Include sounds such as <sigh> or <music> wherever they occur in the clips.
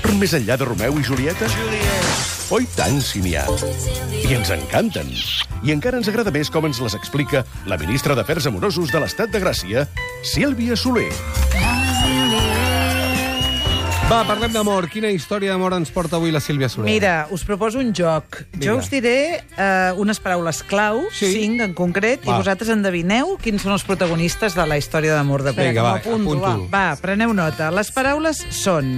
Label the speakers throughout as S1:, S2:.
S1: per més enllà de Romeu i Julieta? Oi tant, si n'hi ha. I ens encanten. I encara ens agrada més com ens les explica la ministra d'Afers Amorosos de l'Estat de Gràcia, Sílvia Soler.
S2: Va, parlem d'amor. Quina història d'amor ens porta avui la Sílvia Soler?
S3: Mira, us proposo un joc.
S2: Vinga.
S3: Jo us diré eh, unes paraules clau,
S2: Sí.
S3: sí. cinc en concret,
S2: Va.
S3: i vosaltres endevineu quins són els protagonistes de la història d'amor de Pep.
S2: Vinga, va,
S3: M'apunto,
S2: apunto.
S3: Va. va, preneu nota. Les paraules són...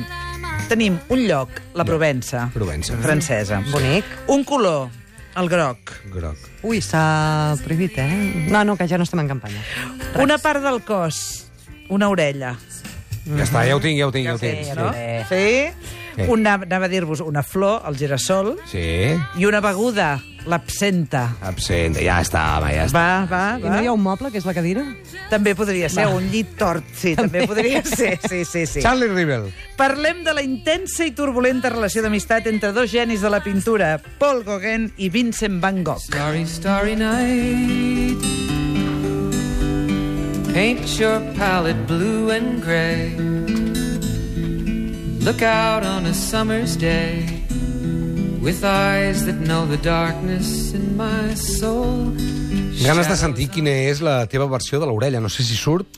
S3: Tenim un lloc, la Provença.
S2: Provença.
S3: Francesa.
S4: Bonic.
S3: Un color, el groc.
S2: Groc.
S4: Ui, s'ha prohibit, eh? No, no, que ja no estem en campanya.
S3: Una part del cos, una orella.
S2: Ja està, ja ho tinc, ja ho tinc, ja ho
S3: Sí,
S2: tinc.
S3: no? Sí.
S2: Sí.
S3: Una, anava a dir-vos una flor, el girassol,
S2: Sí.
S3: i una beguda, l'absenta.
S2: Absent. Ja està, home, ja està.
S3: Va, va,
S4: I
S3: va.
S4: no hi ha un moble, que és la cadira?
S3: També podria ser un llit tort, sí, també podria ser, sí, sí, sí.
S2: Charlie Rivel.
S3: Parlem de la intensa i turbulenta relació d'amistat entre dos genis de la pintura, Paul Gauguin i Vincent Van Gogh.
S5: Starry, starry night. Paint your palette blue and gray. Look out on a summer's day with eyes that know the darkness in my soul.
S2: Ganes de sentir quina és la teva versió de l'orella. No sé si surt.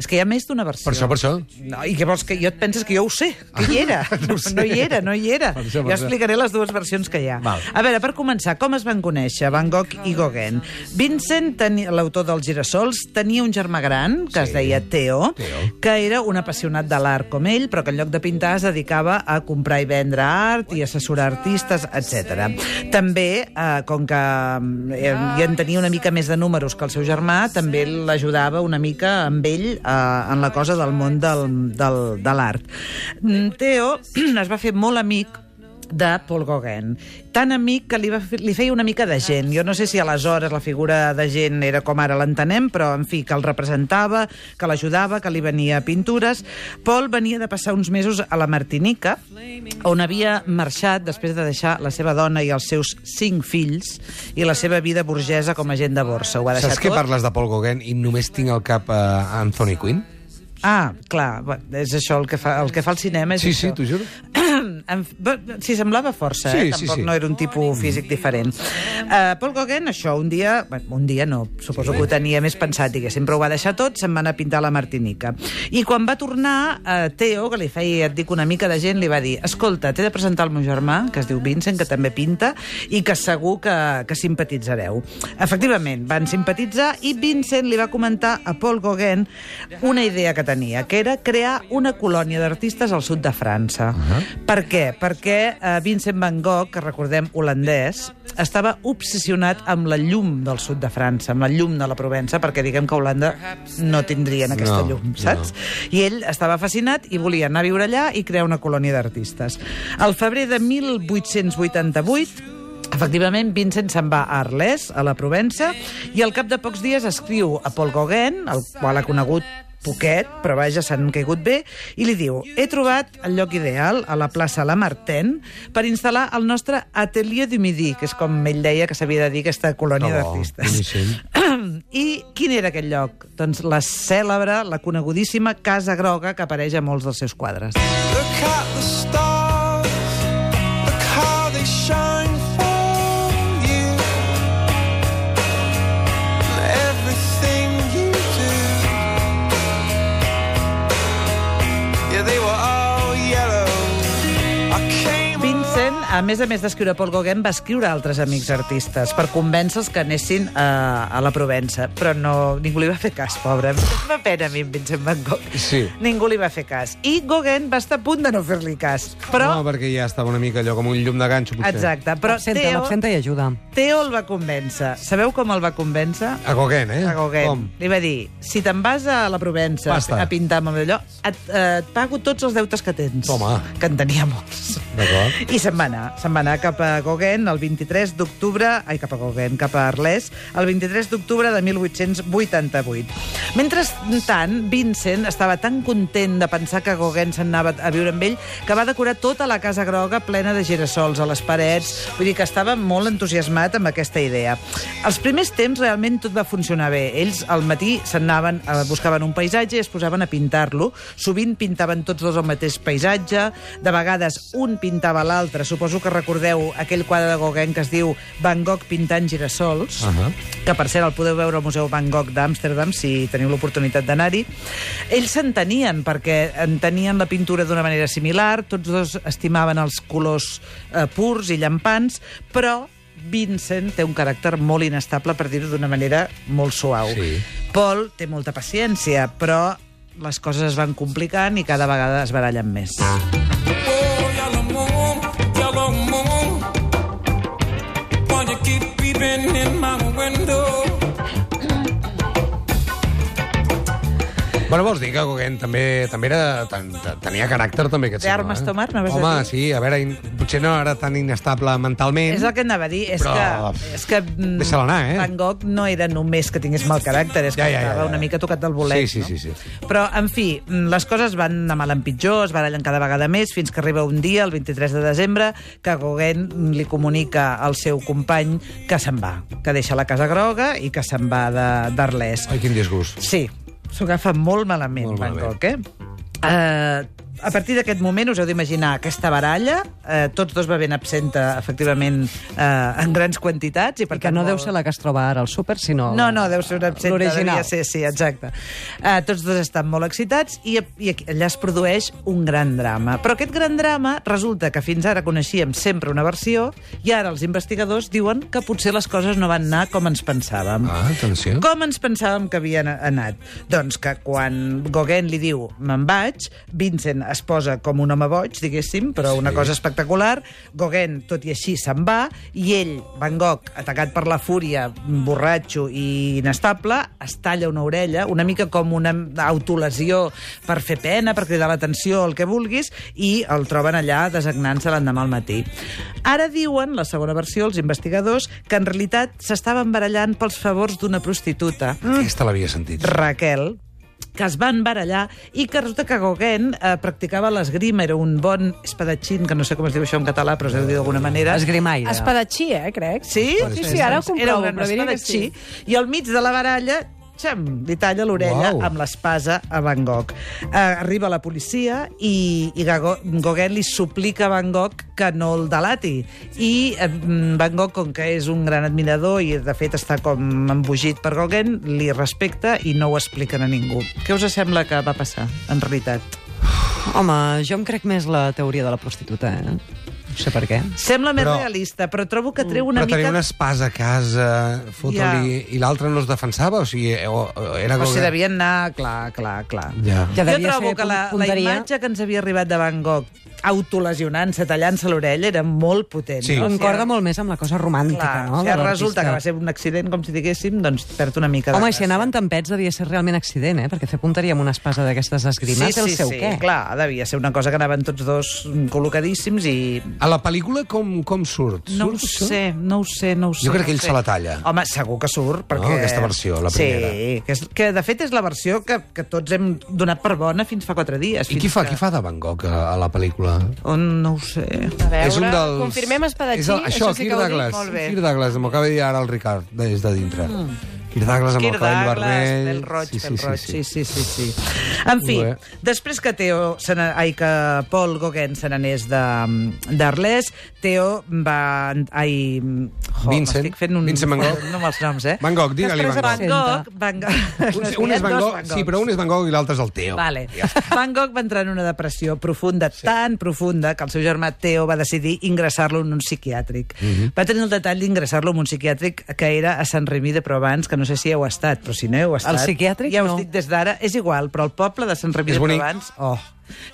S3: És que hi ha més d'una versió.
S2: Per això, per això.
S3: No, I què vols que jo et penses que jo ho sé? Que hi era?
S2: <laughs> No ho
S3: No,
S2: sé.
S3: no hi era, no hi era.
S2: Per això,
S3: Jo
S2: per això.
S3: explicaré les dues versions que hi ha.
S2: Val.
S3: A veure, per començar, com es van conèixer Van Gogh i Gauguin? Vincent, teni- l'autor dels Girassols, tenia un germà gran, que es deia Theo,
S2: Theo.
S3: que era un apassionat de l'art com ell, però que en lloc de pintar es dedicava a comprar i vendre art i assessorar artistes, etc. També, eh, com que eh, ja en tenia una mica més de números que el seu germà, també l'ajudava una mica amb ell eh, en la cosa del món del, del, de l'art. Mm, Theo <clears throat> es va fer molt amic de Paul Gauguin. Tan amic que li, va, fer- li feia una mica de gent. Jo no sé si aleshores la figura de gent era com ara l'entenem, però, en fi, que el representava, que l'ajudava, que li venia a pintures. Paul venia de passar uns mesos a la Martinica, on havia marxat després de deixar la seva dona i els seus cinc fills i la seva vida burgesa com a gent de borsa. Ho va deixar
S2: Saps que
S3: tot.
S2: parles de Paul Gauguin i només tinc al cap eh, Anthony Quinn?
S3: Ah, clar, bé, és això el que fa el, que fa el cinema. És
S2: Sí,
S3: això.
S2: sí, t'ho juro.
S3: <clears throat> Em- va- S'hi semblava força,
S2: Sí,
S3: eh?
S2: sí,
S3: Tampoc
S2: sí.
S3: no era un tipus físic diferent. Uh, Paul Gauguin, això, un dia... Bueno, un dia no, suposo que ho tenia més pensat, diguéssim, però ho va deixar tot, se'n va anar a pintar a la Martinica. I quan va tornar, uh, Theo, que li feia, et dic, una mica de gent, li va dir escolta, t'he de presentar el meu germà, que es diu Vincent, que també pinta, i que segur que, que simpatitzareu. Efectivament, van simpatitzar i Vincent li va comentar a Paul Gauguin una idea que tenia, que era crear una colònia d'artistes al sud de França. Uh -huh. Per què? Perquè eh, Vincent van Gogh, que recordem holandès, estava obsessionat amb la llum del sud de França, amb la llum de la Provença, perquè diguem que a Holanda no tindrien aquesta
S2: No,
S3: llum, saps? I ell estava fascinat i volia anar a viure allà i crear una colònia d'artistes. Al febrer de 1888, Efectivament, Vincent se'n va a Arles, a la Provença, i al cap de pocs dies escriu a Paul Gauguin, el qual ha conegut poquet, però vaja, s'han caigut bé, i li diu, he trobat el lloc ideal, a la plaça Lamartine, per instal·lar el nostre Atelier du Midi, que és com ell deia que s'havia de dir aquesta colònia d'artistes.
S2: boníssim.
S3: <clears throat> I quin era aquest lloc? Doncs la cèlebre, la conegudíssima Casa Groga que apareix a molts dels seus quadres.
S6: Look at the stars, look how they shine for you. Everything you do, yeah, they were all yellow. I came.
S3: Vincent, a més a més d'escriure Paul Gauguin, va escriure altres amics artistes per convèncer-los que anessin a, a la Provença, però no, ningú li va fer cas, pobre. Em va pena a mi, en Vincent Van Gogh.
S2: Sí.
S3: Ningú li va fer cas. I Gauguin va estar a punt de no fer-li cas. Però,
S2: No, perquè ja estava una mica allò com un llum de ganxo, potser.
S3: exacte, Ah, però
S4: Absenta,
S3: Teo,
S4: l'absenta i ajuda.
S3: Teo el va convèncer. Sabeu com el va convèncer?
S2: A Gauguin, eh?
S3: a Gauguin.
S2: Com?
S3: Li va dir, si te'n vas a la Provença
S2: Basta.
S3: a pintar amb allò, et, eh, et pago tots els deutes que tens.
S2: Toma.
S3: Que en tenia molts. <laughs>
S2: D'acord.
S3: I se'n va anar, se'n va anar cap a Gauguin el 23 d'octubre... Ai, cap a Gauguin, cap a Arlès, el 23 d'octubre de 1888. Mentrestant, Vincent estava tan content de pensar que Gauguin se'n anava a viure amb ell que va decorar tota la Casa Groga plena de girassols a les parets. Vull dir que estava molt entusiasmat amb aquesta idea. Els primers temps realment tot va funcionar bé. Ells al matí se'n anaven, eh, buscaven un paisatge i es posaven a pintar-lo. Sovint pintaven tots dos el mateix paisatge, de vegades un pintava l'altre. Suposo que recordeu aquell quadre de Gauguin que es diu Van Gogh pintant girassols, uh -huh. que per cert el podeu veure al Museu Van Gogh d'Amsterdam si teniu l'oportunitat d'anar-hi. Ells s'entenien perquè entenien la pintura d'una manera similar, tots dos estimaven els colors eh, purs i llampants, però Vincent té un caràcter molt inestable, per dir-ho d'una manera molt suau. Sí. Paul té molta paciència, però les coses es van complicant i cada vegada es barallen més.
S6: Oh, yellow moon, yellow moon. Why you keep peeping in my window?
S2: Bueno, vols dir que Gauguin també, també era, tan, ta- tenia caràcter, també, aquest eh?
S3: De armes tomar, n'anaves a
S2: Home,
S3: dir?
S2: sí, a veure, in, potser no era tan inestable mentalment.
S3: És el que anava a dir, és
S2: Però,
S3: que, és que mm,
S2: deixa-la anar, eh?
S3: Van Gogh no era només que tingués mal caràcter, és que
S2: Ja, ja, ja,
S3: estava
S2: ja.
S3: una mica tocat del bolet.
S2: Sí, sí,
S3: no?
S2: sí, sí, sí.
S3: Però, en fi, mm, les coses van anar mal en pitjor, es barallen cada vegada més, fins que arriba un dia, el 23 de desembre, que Gauguin li comunica al seu company que se'n va, que deixa la Casa Groga i que se'n va de- d'Arles.
S2: Ai, quin disgust.
S3: Sí, s'ho agafa molt malament,
S2: Molt
S3: molt Van
S2: malament.
S3: Gogh, eh? Uh, a partir d'aquest moment us heu d'imaginar aquesta baralla, eh, tots dos bevent absenta, efectivament, eh, en grans quantitats. I, per
S4: I que no
S3: tant,
S4: deu
S3: molt-
S4: ser la que es troba ara al súper, sinó...
S3: no, no, deu ser un absent.
S4: L'original.
S3: Devia ser, sí, exacte. Uh, tots dos estan molt excitats i, i aquí- allà es produeix un gran drama. Però aquest gran drama resulta que fins ara coneixíem sempre una versió i ara els investigadors diuen que potser les coses no van anar com ens pensàvem.
S2: Ah, atenció.
S3: Com ens pensàvem que havien anat? Doncs que quan Gauguin li diu me'n vaig, Vincent es posa com un home boig, diguéssim, però sí. una cosa espectacular. Gauguin, tot i així, se'n va, i ell, Van Gogh, atacat per la fúria, borratxo i inestable, es talla una orella, una mica com una autolesió per fer pena, per cridar l'atenció, el que vulguis, i el troben allà designant-se l'endemà al matí. Ara diuen, la segona versió, els investigadors, que en realitat s'estaven barallant pels favors d'una prostituta,
S2: Aquesta l'havia sentit.
S3: Raquel, que es van barallar i que resulta que Gauguin eh, practicava l'esgrima, era un bon espadatxín, que no sé com es diu això en català, però es deu dir d'alguna manera.
S4: Esgrimaire.
S7: Espadatxí, eh, crec.
S3: Sí?
S7: Sí, sí, ara ho
S3: Era
S7: comprovo,
S3: un gran
S7: però diré que
S3: espadatxí.
S7: sí.
S3: I al mig de la baralla Xam, li talla l'orella
S2: Uau.
S3: amb l'espasa a Van Gogh. Eh, arriba la policia i, i Gago, Gauguin li suplica a Van Gogh que no el delati. I eh, mm, Van Gogh, com que és un gran admirador i de fet està com embogit per Gauguin, li respecta i no ho expliquen a ningú. Què us sembla que va passar, en realitat?
S4: Home, jo em crec més la teoria de la prostituta, eh? No sé per què.
S3: Sembla més
S2: Però- Mm.
S3: realista, però trobo que treu una
S2: Però tenia
S3: mica...
S2: una espasa a casa, fotre-li... I l'altre no es defensava? O sigui, o, o era
S3: O sigui,
S2: Gauguin?
S3: devien anar... Clar, clar, clar.
S2: Ja.
S4: Ja
S3: jo
S4: devia
S3: trobo
S4: ser
S3: que la, la
S4: punteria.
S3: imatge que ens havia arribat de Van Gogh autolesionant-se, tallant-se l'orella, era molt potent.
S2: Sí.
S3: No?
S4: Concorda molt més amb la cosa romàntica,
S3: Clar,
S4: no?
S3: no, si
S4: de
S3: ara resulta
S4: l'artista.
S3: que va ser un accident, com si diguéssim, doncs perd una mica de
S4: Home, i si
S3: gràcia.
S4: anaven tempets devia ser realment accident, eh? Perquè fer punteria amb una espasa d'aquestes esgrimes té el seu
S3: sí,
S4: què.
S3: clar, devia ser una cosa que anaven tots dos mm, col·locadíssims i...
S2: A la pel·lícula com, com surt?
S3: No ho
S2: surt això?
S3: sé, no ho sé, no ho sé.
S2: Jo crec que
S3: no
S2: ell
S3: ho sé.
S2: se la talla.
S3: Home, segur que surt, perquè...
S2: aquesta versió, la
S3: Sí,
S2: primera.
S3: que, és, que de fet és la versió que, que tots hem donat per bona fins fa quatre dies.
S2: I
S3: fins
S2: qui fa,
S3: que-
S2: qui fa de Van Gogh a, a la pel·lícula?
S3: On no ho sé.
S7: A veure,
S2: és un dels...
S7: confirmem espadatxí,
S2: és el, això,
S7: sí
S2: Kirk
S7: que ho dic
S2: Douglas.
S7: molt bé.
S2: Kirk Douglas, m'ho acaba de dir ara el Ricard, des de dintre. Mm. Kirk Douglas amb
S3: Kirk
S2: el cabell
S3: Douglas,
S2: vermell.
S3: pèl roig, pèl roig. Sí,
S2: Sí, sí.
S3: sí, sí, sí. En fi,
S2: Molt
S3: després que Teo, se n'ha- ai, que Paul Gauguin se n'anés de- d'Arles, Teo va... Ai, jo,
S2: Vincent.
S3: m'estic fent un...
S2: Vincent Van Gogh.
S3: <laughs> No amb els noms, eh?
S2: Van Gogh, digue-li
S3: Després
S2: Van Gogh.
S3: Van Gogh. Van Gogh.
S2: Un, un és Van
S3: Dos
S2: Gogh, sí, però un és Van Gogh i l'altre és el Teo.
S3: Vale. <laughs> Van Gogh va entrar en una depressió profunda, sí. tan profunda, que el seu germà Teo va decidir ingressar-lo en un psiquiàtric. Va tenir el detall d'ingressar-lo en un psiquiàtric que era a Sant Remi de Provence, que no sé si heu estat, però si no heu estat...
S4: psiquiàtric,
S3: Ja us
S4: no.
S3: dic des d'ara, és igual, però el poble de Sant Remi
S2: És
S3: de
S2: bonic.
S3: Provence... Oh,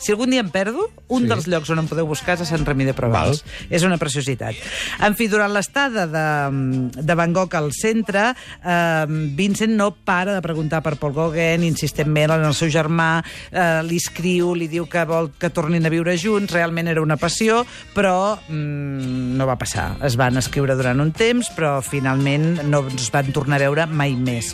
S3: Si algun dia em perdo, un sí. dels llocs on em podeu buscar és a Sant Remí de Provals. És una preciositat. En fi, durant l'estada de, de Van Gogh al centre, eh, Vincent no para de preguntar per Paul Gauguin, insistentment en el seu germà, eh, li escriu, li diu que vol que tornin a viure junts, realment era una passió, però mm, no va passar. Es van escriure durant un temps, però finalment no ens van tornar a veure mai més.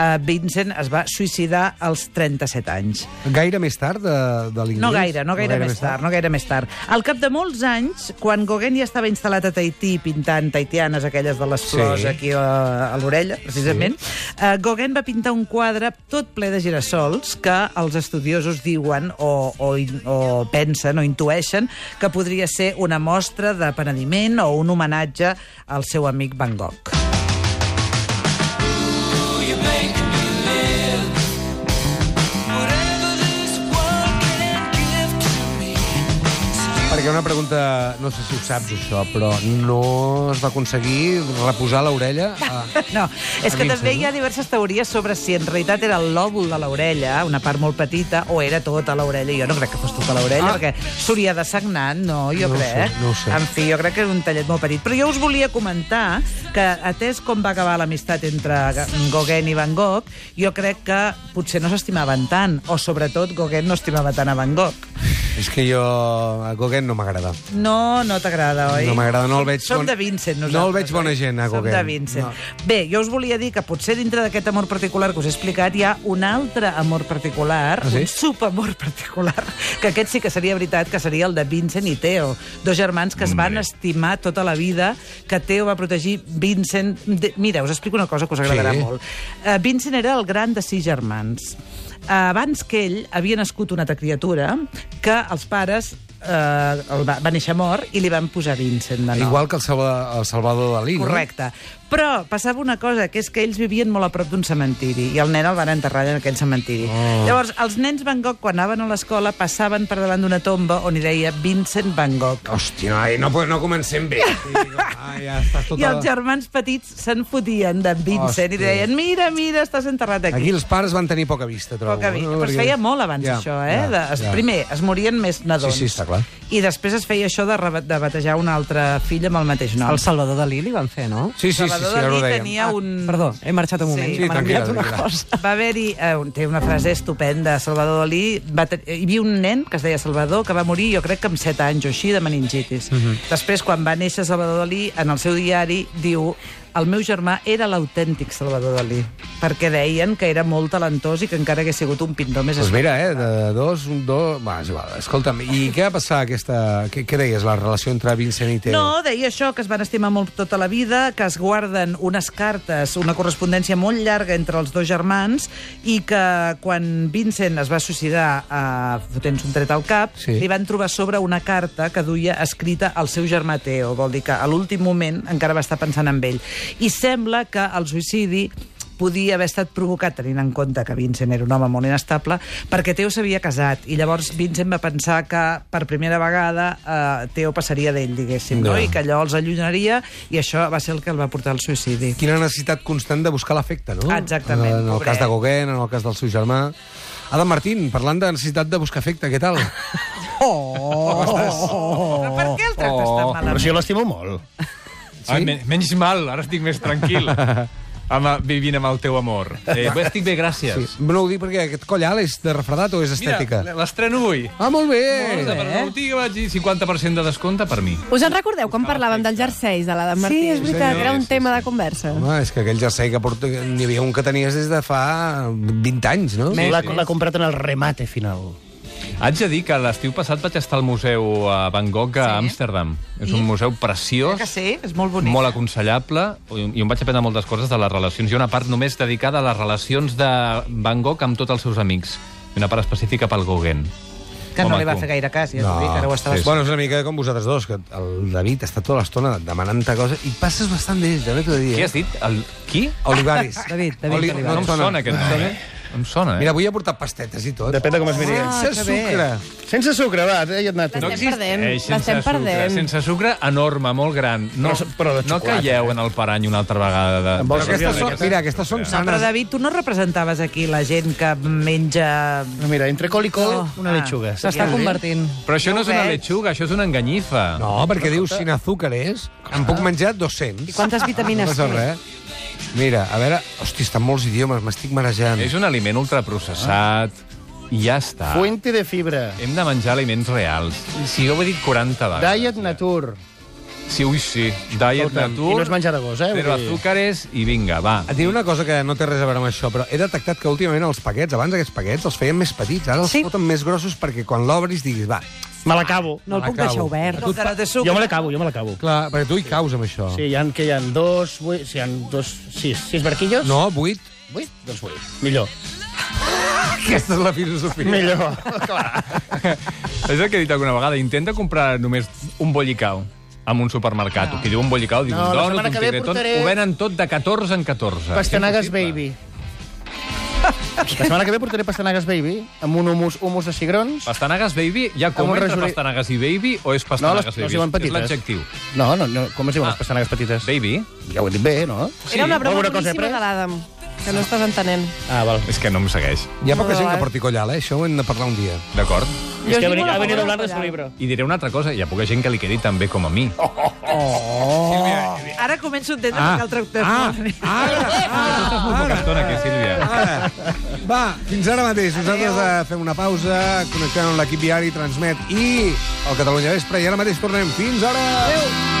S3: Eh, Vincent es va suïcidar als 37 anys.
S2: Gaire més tard de, de l'ingrés?
S3: No gaire, no gaire, més tard, no gaire més tard. Al cap de molts anys, quan Gauguin ja estava instal·lat a Tahití pintant tahitianes, aquelles de les
S2: Sí.
S3: flors aquí a, a l'orella, precisament, eh, Gauguin va pintar un quadre tot ple de girassols que els estudiosos diuen o, o, in- o pensen o intueixen que podria ser una mostra de penediment o un homenatge al seu amic Van Gogh.
S6: you make me live. Whatever this world can give to me.
S2: Perquè una pregunta, no sé si ho saps això, però no es va aconseguir reposar l'orella? Ah,
S3: <laughs>
S2: A...
S3: No, és
S2: A
S3: que
S2: mi em
S3: també hi
S2: sembla.
S3: ha diverses teories sobre si en realitat era el lòbul de l'orella, una part molt petita, o era tota l'orella. Jo no crec que fos tota l'orella, ah. perquè s'hauria de sagnar, no, jo
S2: No ho sé,
S3: crec.
S2: no ho sé.
S3: En fi, jo crec que era un tallet molt petit. Però jo us volia comentar que, atès com va acabar l'amistat entre Ga- Gauguin i Van Gogh, jo crec que potser no s'estimaven tant, o sobretot Gauguin no estimava tant a Van Gogh.
S2: És que jo... A Gauguin no m'agrada.
S3: No, no t'agrada, oi?
S2: No m'agrada, no el veig
S3: Som
S2: bon-
S3: de Vincent,
S2: no el
S3: nosaltres.
S2: veig bona
S3: oi?
S2: gent, a Gauguin.
S3: Som de Vincent.
S2: No.
S3: Bé, jo us volia dir que potser dintre d'aquest amor particular que us he explicat hi ha un altre amor particular,
S2: Ah, sí?
S3: un subamor particular, que aquest sí que seria veritat, que seria el de Vincent i Theo, dos germans que es van estimar tota la vida, que Theo va protegir Vincent... De... Mira, us explico una cosa que us agradarà
S2: Sí.
S3: molt molt. Uh, Vincent era el gran de sis germans. Uh, abans que ell havia nascut una altra criatura que els pares eh, el va, va néixer mort i li van posar Vincent de nou.
S2: Igual que el, Salva, el Salvador Dalí,
S3: Correcte. Però passava una cosa, que és que ells vivien molt a prop d'un cementiri i el nen el van enterrar en aquell cementiri. Oh. Llavors, els nens Van Gogh, quan anaven a l'escola, passaven per davant d'una tomba on hi deia Vincent Van Gogh.
S2: no? Hòstia, ai, no, pues no comencem <laughs> bé. Ah, ja estàs
S3: I
S2: tota...
S3: els germans petits se'n fotien de Vincent Hòstia. i
S2: Hòstia.
S3: deien, mira, mira, estàs enterrat aquí.
S2: Aquí els pares van tenir poca vista, trobo.
S3: Poca vida.
S2: no?
S3: Però es
S2: Perquè-
S3: feia molt abans,
S2: Ja,
S3: això, eh? de, es, Primer, es morien més nadons.
S2: Sí, sí, està clar.
S3: I després es feia això de, reba- de batejar una altra filla amb el mateix nom.
S4: El Salvador Dalí li van fer, no?
S2: Sí, sí, sí, sí,
S3: Salvador
S2: ara ho
S3: Dalí
S2: dèiem. Ah,
S3: tenia un...
S4: Perdó, he marxat un moment.
S3: Sí,
S4: que m'han
S2: tranquil·la,
S4: enviat una
S2: tranquil·la.
S4: cosa.
S3: Va haver-hi... Eh, un- té una frase estupenda. Salvador Dalí... Va te- hi havia un nen que es deia Salvador que va morir, jo crec que amb 7 anys o així, de meningitis.
S2: Mhm.
S3: Després, quan va néixer Salvador Dalí, en el seu diari diu el meu germà era l'autèntic Salvador Dalí, perquè deien que era molt talentós i que encara hagués sigut un pintor més
S2: Doncs mira, eh, de dos, un, dos... Va, és igual, escolta'm, i què va passar aquesta... Què, què deies, la relació entre Vincent i Teo?
S3: No, deia això, que es van estimar molt tota la vida, que es guarden unes cartes, una correspondència molt llarga entre els dos germans i que quan Vincent es va suïcidar eh, fotent un tret al cap,
S2: Sí.
S3: sí. li van trobar a sobre una carta que duia escrita al seu germà Teo. Vol dir que a l'últim moment encara va estar pensant en ell. I sembla que el suïcidi podia haver estat provocat, tenint en compte que Vincent era un home molt inestable, perquè Teo s'havia casat, i llavors Vincent va pensar que per primera vegada eh, Teo passaria d'ell, diguéssim, no.
S2: Ja.
S3: no? i que allò els allunyaria, i això va ser el que el va portar al suïcidi.
S2: Quina necessitat constant de buscar l'efecte, no?
S3: Exactament,
S2: En el
S3: pobret.
S2: cas de Gauguin, en el cas del seu germà... Adam Martín, parlant de necessitat de buscar efecte, què
S3: <laughs>
S2: tal?
S3: Però per què el tractes oh. tan
S7: Però si
S3: malament?
S7: jo l'estimo molt.
S2: Sí?
S8: Ai, men menys mal, ara estic més tranquil. Ama, vivint amb el teu amor. Eh, bé, estic bé,
S2: Sí.
S8: gràcies.
S2: No ho dic perquè aquest coll alt és de refredat o és estètica?
S8: Mira, l'estreno avui.
S2: Ah, molt
S8: Eh?
S2: bé!
S8: Per la botiga vaig dir 50% de descompte per mi.
S9: Us en recordeu quan parlàvem dels jerseis de l'Adam Martí? Sí, és veritat. Era un tema de conversa.
S2: Home, és que aquell jersei que porto... N'hi havia un que tenies des de fa 20 anys, no?
S7: L'ha l'ha comprat en el remate final.
S8: Haig de dir que l'estiu passat vaig estar al museu a Van Gogh a Amsterdam. És un museu preciós.
S3: Que sí, és molt bonic.
S8: molt aconsellable i on vaig aprendre moltes coses de les relacions. Hi ha una part només dedicada a les relacions de Van Gogh amb tots els seus amics i una part específica pel Gauguin.
S3: Que no
S8: Home,
S3: li va
S8: tu.
S3: fer gaire cas, ja no. dic, ara ho estaves...
S2: Ah, Bueno, és una mica com vosaltres dos, que el David està tota l'estona demanant-te coses i passes bastant d'ell, també t'ho he de dir.
S8: Què
S2: eh?
S8: has dit? El... Qui?
S2: Olivares.
S4: <laughs> David, David
S2: Oli...
S4: Olivares.
S8: No em sona aquest nom, eh? Em sona, eh?
S2: Mira, avui he portat pastetes i tot.
S7: Depèn de com es miri.
S4: Ah,
S2: Sense
S4: que bé.
S2: sucre.
S7: Sense sucre, va, eh, ja hi he anat.
S9: L'estem perdent,
S8: Eh,
S9: l'estem
S8: Sucre,
S9: perdent.
S8: sense sucre enorme, molt gran. No,
S7: Però- però de
S8: no
S7: xocolata,
S8: caieu en el parany una altra vegada. De,
S7: Amb
S2: Però
S7: vols
S8: de-
S2: aquestes
S7: Aquestes
S2: són,
S7: són-
S2: mira, aquestes són
S3: No, però
S2: sanes.
S3: David, tu no representaves aquí la gent que menja...
S7: No, mira, entre col i col,
S3: Oh,
S7: una
S3: ah.
S7: lechuga.
S4: S'està
S7: Saps què vull dir?
S4: convertint.
S8: Però això no,
S3: No
S8: és una
S3: veig.
S8: lechuga, això és una enganyifa.
S2: No, perquè dius, sin azúcares, em
S7: Ah.
S2: puc menjar 200.
S4: I quantes
S2: No
S4: vitamines
S2: passa res. Mira, a veure... Hosti, estan molts idiomes, m'estic marejant.
S8: És un aliment ultraprocessat, i ja està.
S7: Fuente de fibra.
S8: Hem de menjar aliments reals. Si jo ho he dit 40 vegades.
S7: Diet Natur.
S8: Sí, ui, sí. Diet
S7: Escolta'm,
S8: natur.
S7: i no és menjar de gos, eh?
S8: Però
S7: Vull dir-
S8: azúcares i vinga, va.
S2: Et diré una cosa que no té res a veure amb això, però he detectat que últimament els paquets, abans aquests paquets, els feien més petits, ara els
S4: Sí.
S2: foten més grossos perquè quan l'obris diguis, va,
S7: Me l'acabo.
S4: No el puc
S2: Acabo.
S4: deixar obert.
S3: Com que no té
S7: Jo me
S3: sucre.
S7: l'acabo, jo me l'acabo.
S2: clar, perquè tu hi caus amb això.
S7: Ah. Sí, hi ha, que hi ha dos, vuit, si hi ha dos, sis, sis barquillos.
S2: No, vuit?
S7: Vuit? Doncs vuit. Millor.
S2: Aquesta és la filosofia.
S7: Millor.
S8: És el que he dit alguna vegegada. Intenta comprar només un bollicau en un supermercat. No. Que diu un bollicau, diu
S7: No,
S8: un
S7: la
S8: donut,
S7: setmana
S8: un
S7: que ve
S8: tigretón...
S7: portaré-
S8: Ho venen tot de 14 en 14.
S7: Pastanagues
S8: És impossible.
S7: Baby. La setmana que ve portaré pastanagues Baby amb un humus, humus de cigrons.
S8: Pastanagues Baby, ja com
S7: Amb un
S8: entre
S7: rajolí.
S8: pastanagues i baby o és pastanagues
S7: les- no es
S8: baby?
S7: diuen
S8: és
S7: petites.
S8: l'adjectiu.
S7: No, no, no. Com es diuen
S8: Ah.
S7: les pastanagues petites?
S8: Baby?
S7: Ja ho he dit bé, no?
S9: Era una broma
S7: Alguna cosa eh? he
S9: boníssima
S7: après?
S9: de l'Adam, que no estàs entenent.
S7: Ah, val.
S8: És que no em segueix.
S2: Hi ha poca gent
S9: Molt
S2: que
S9: bé.
S2: porti collal, eh? Això ho hem de parlar un dia.
S8: D'acord?
S9: Jo
S7: És que
S9: estic
S7: ha venit,
S9: molt a
S7: ha
S9: favor
S7: venit
S9: del
S7: hablando de su
S9: collal.
S7: libro.
S8: I diré una altra cosa, hi ha poca gent que li quedi tan bé com a mi. Oh.
S3: Ara començo a entendre ah, que el tractes
S2: ah,
S3: molt bé.
S2: ara,
S8: Estàs molt poca
S2: ara,
S8: estona aquí, Sílvia.
S2: ara. Va, fins ara mateix. Nosaltres eh, fem una pausa, connectem amb l'equip diari, transmet i el Catalunya Vespre, i ara mateix tornem. Fins ara! Adéu!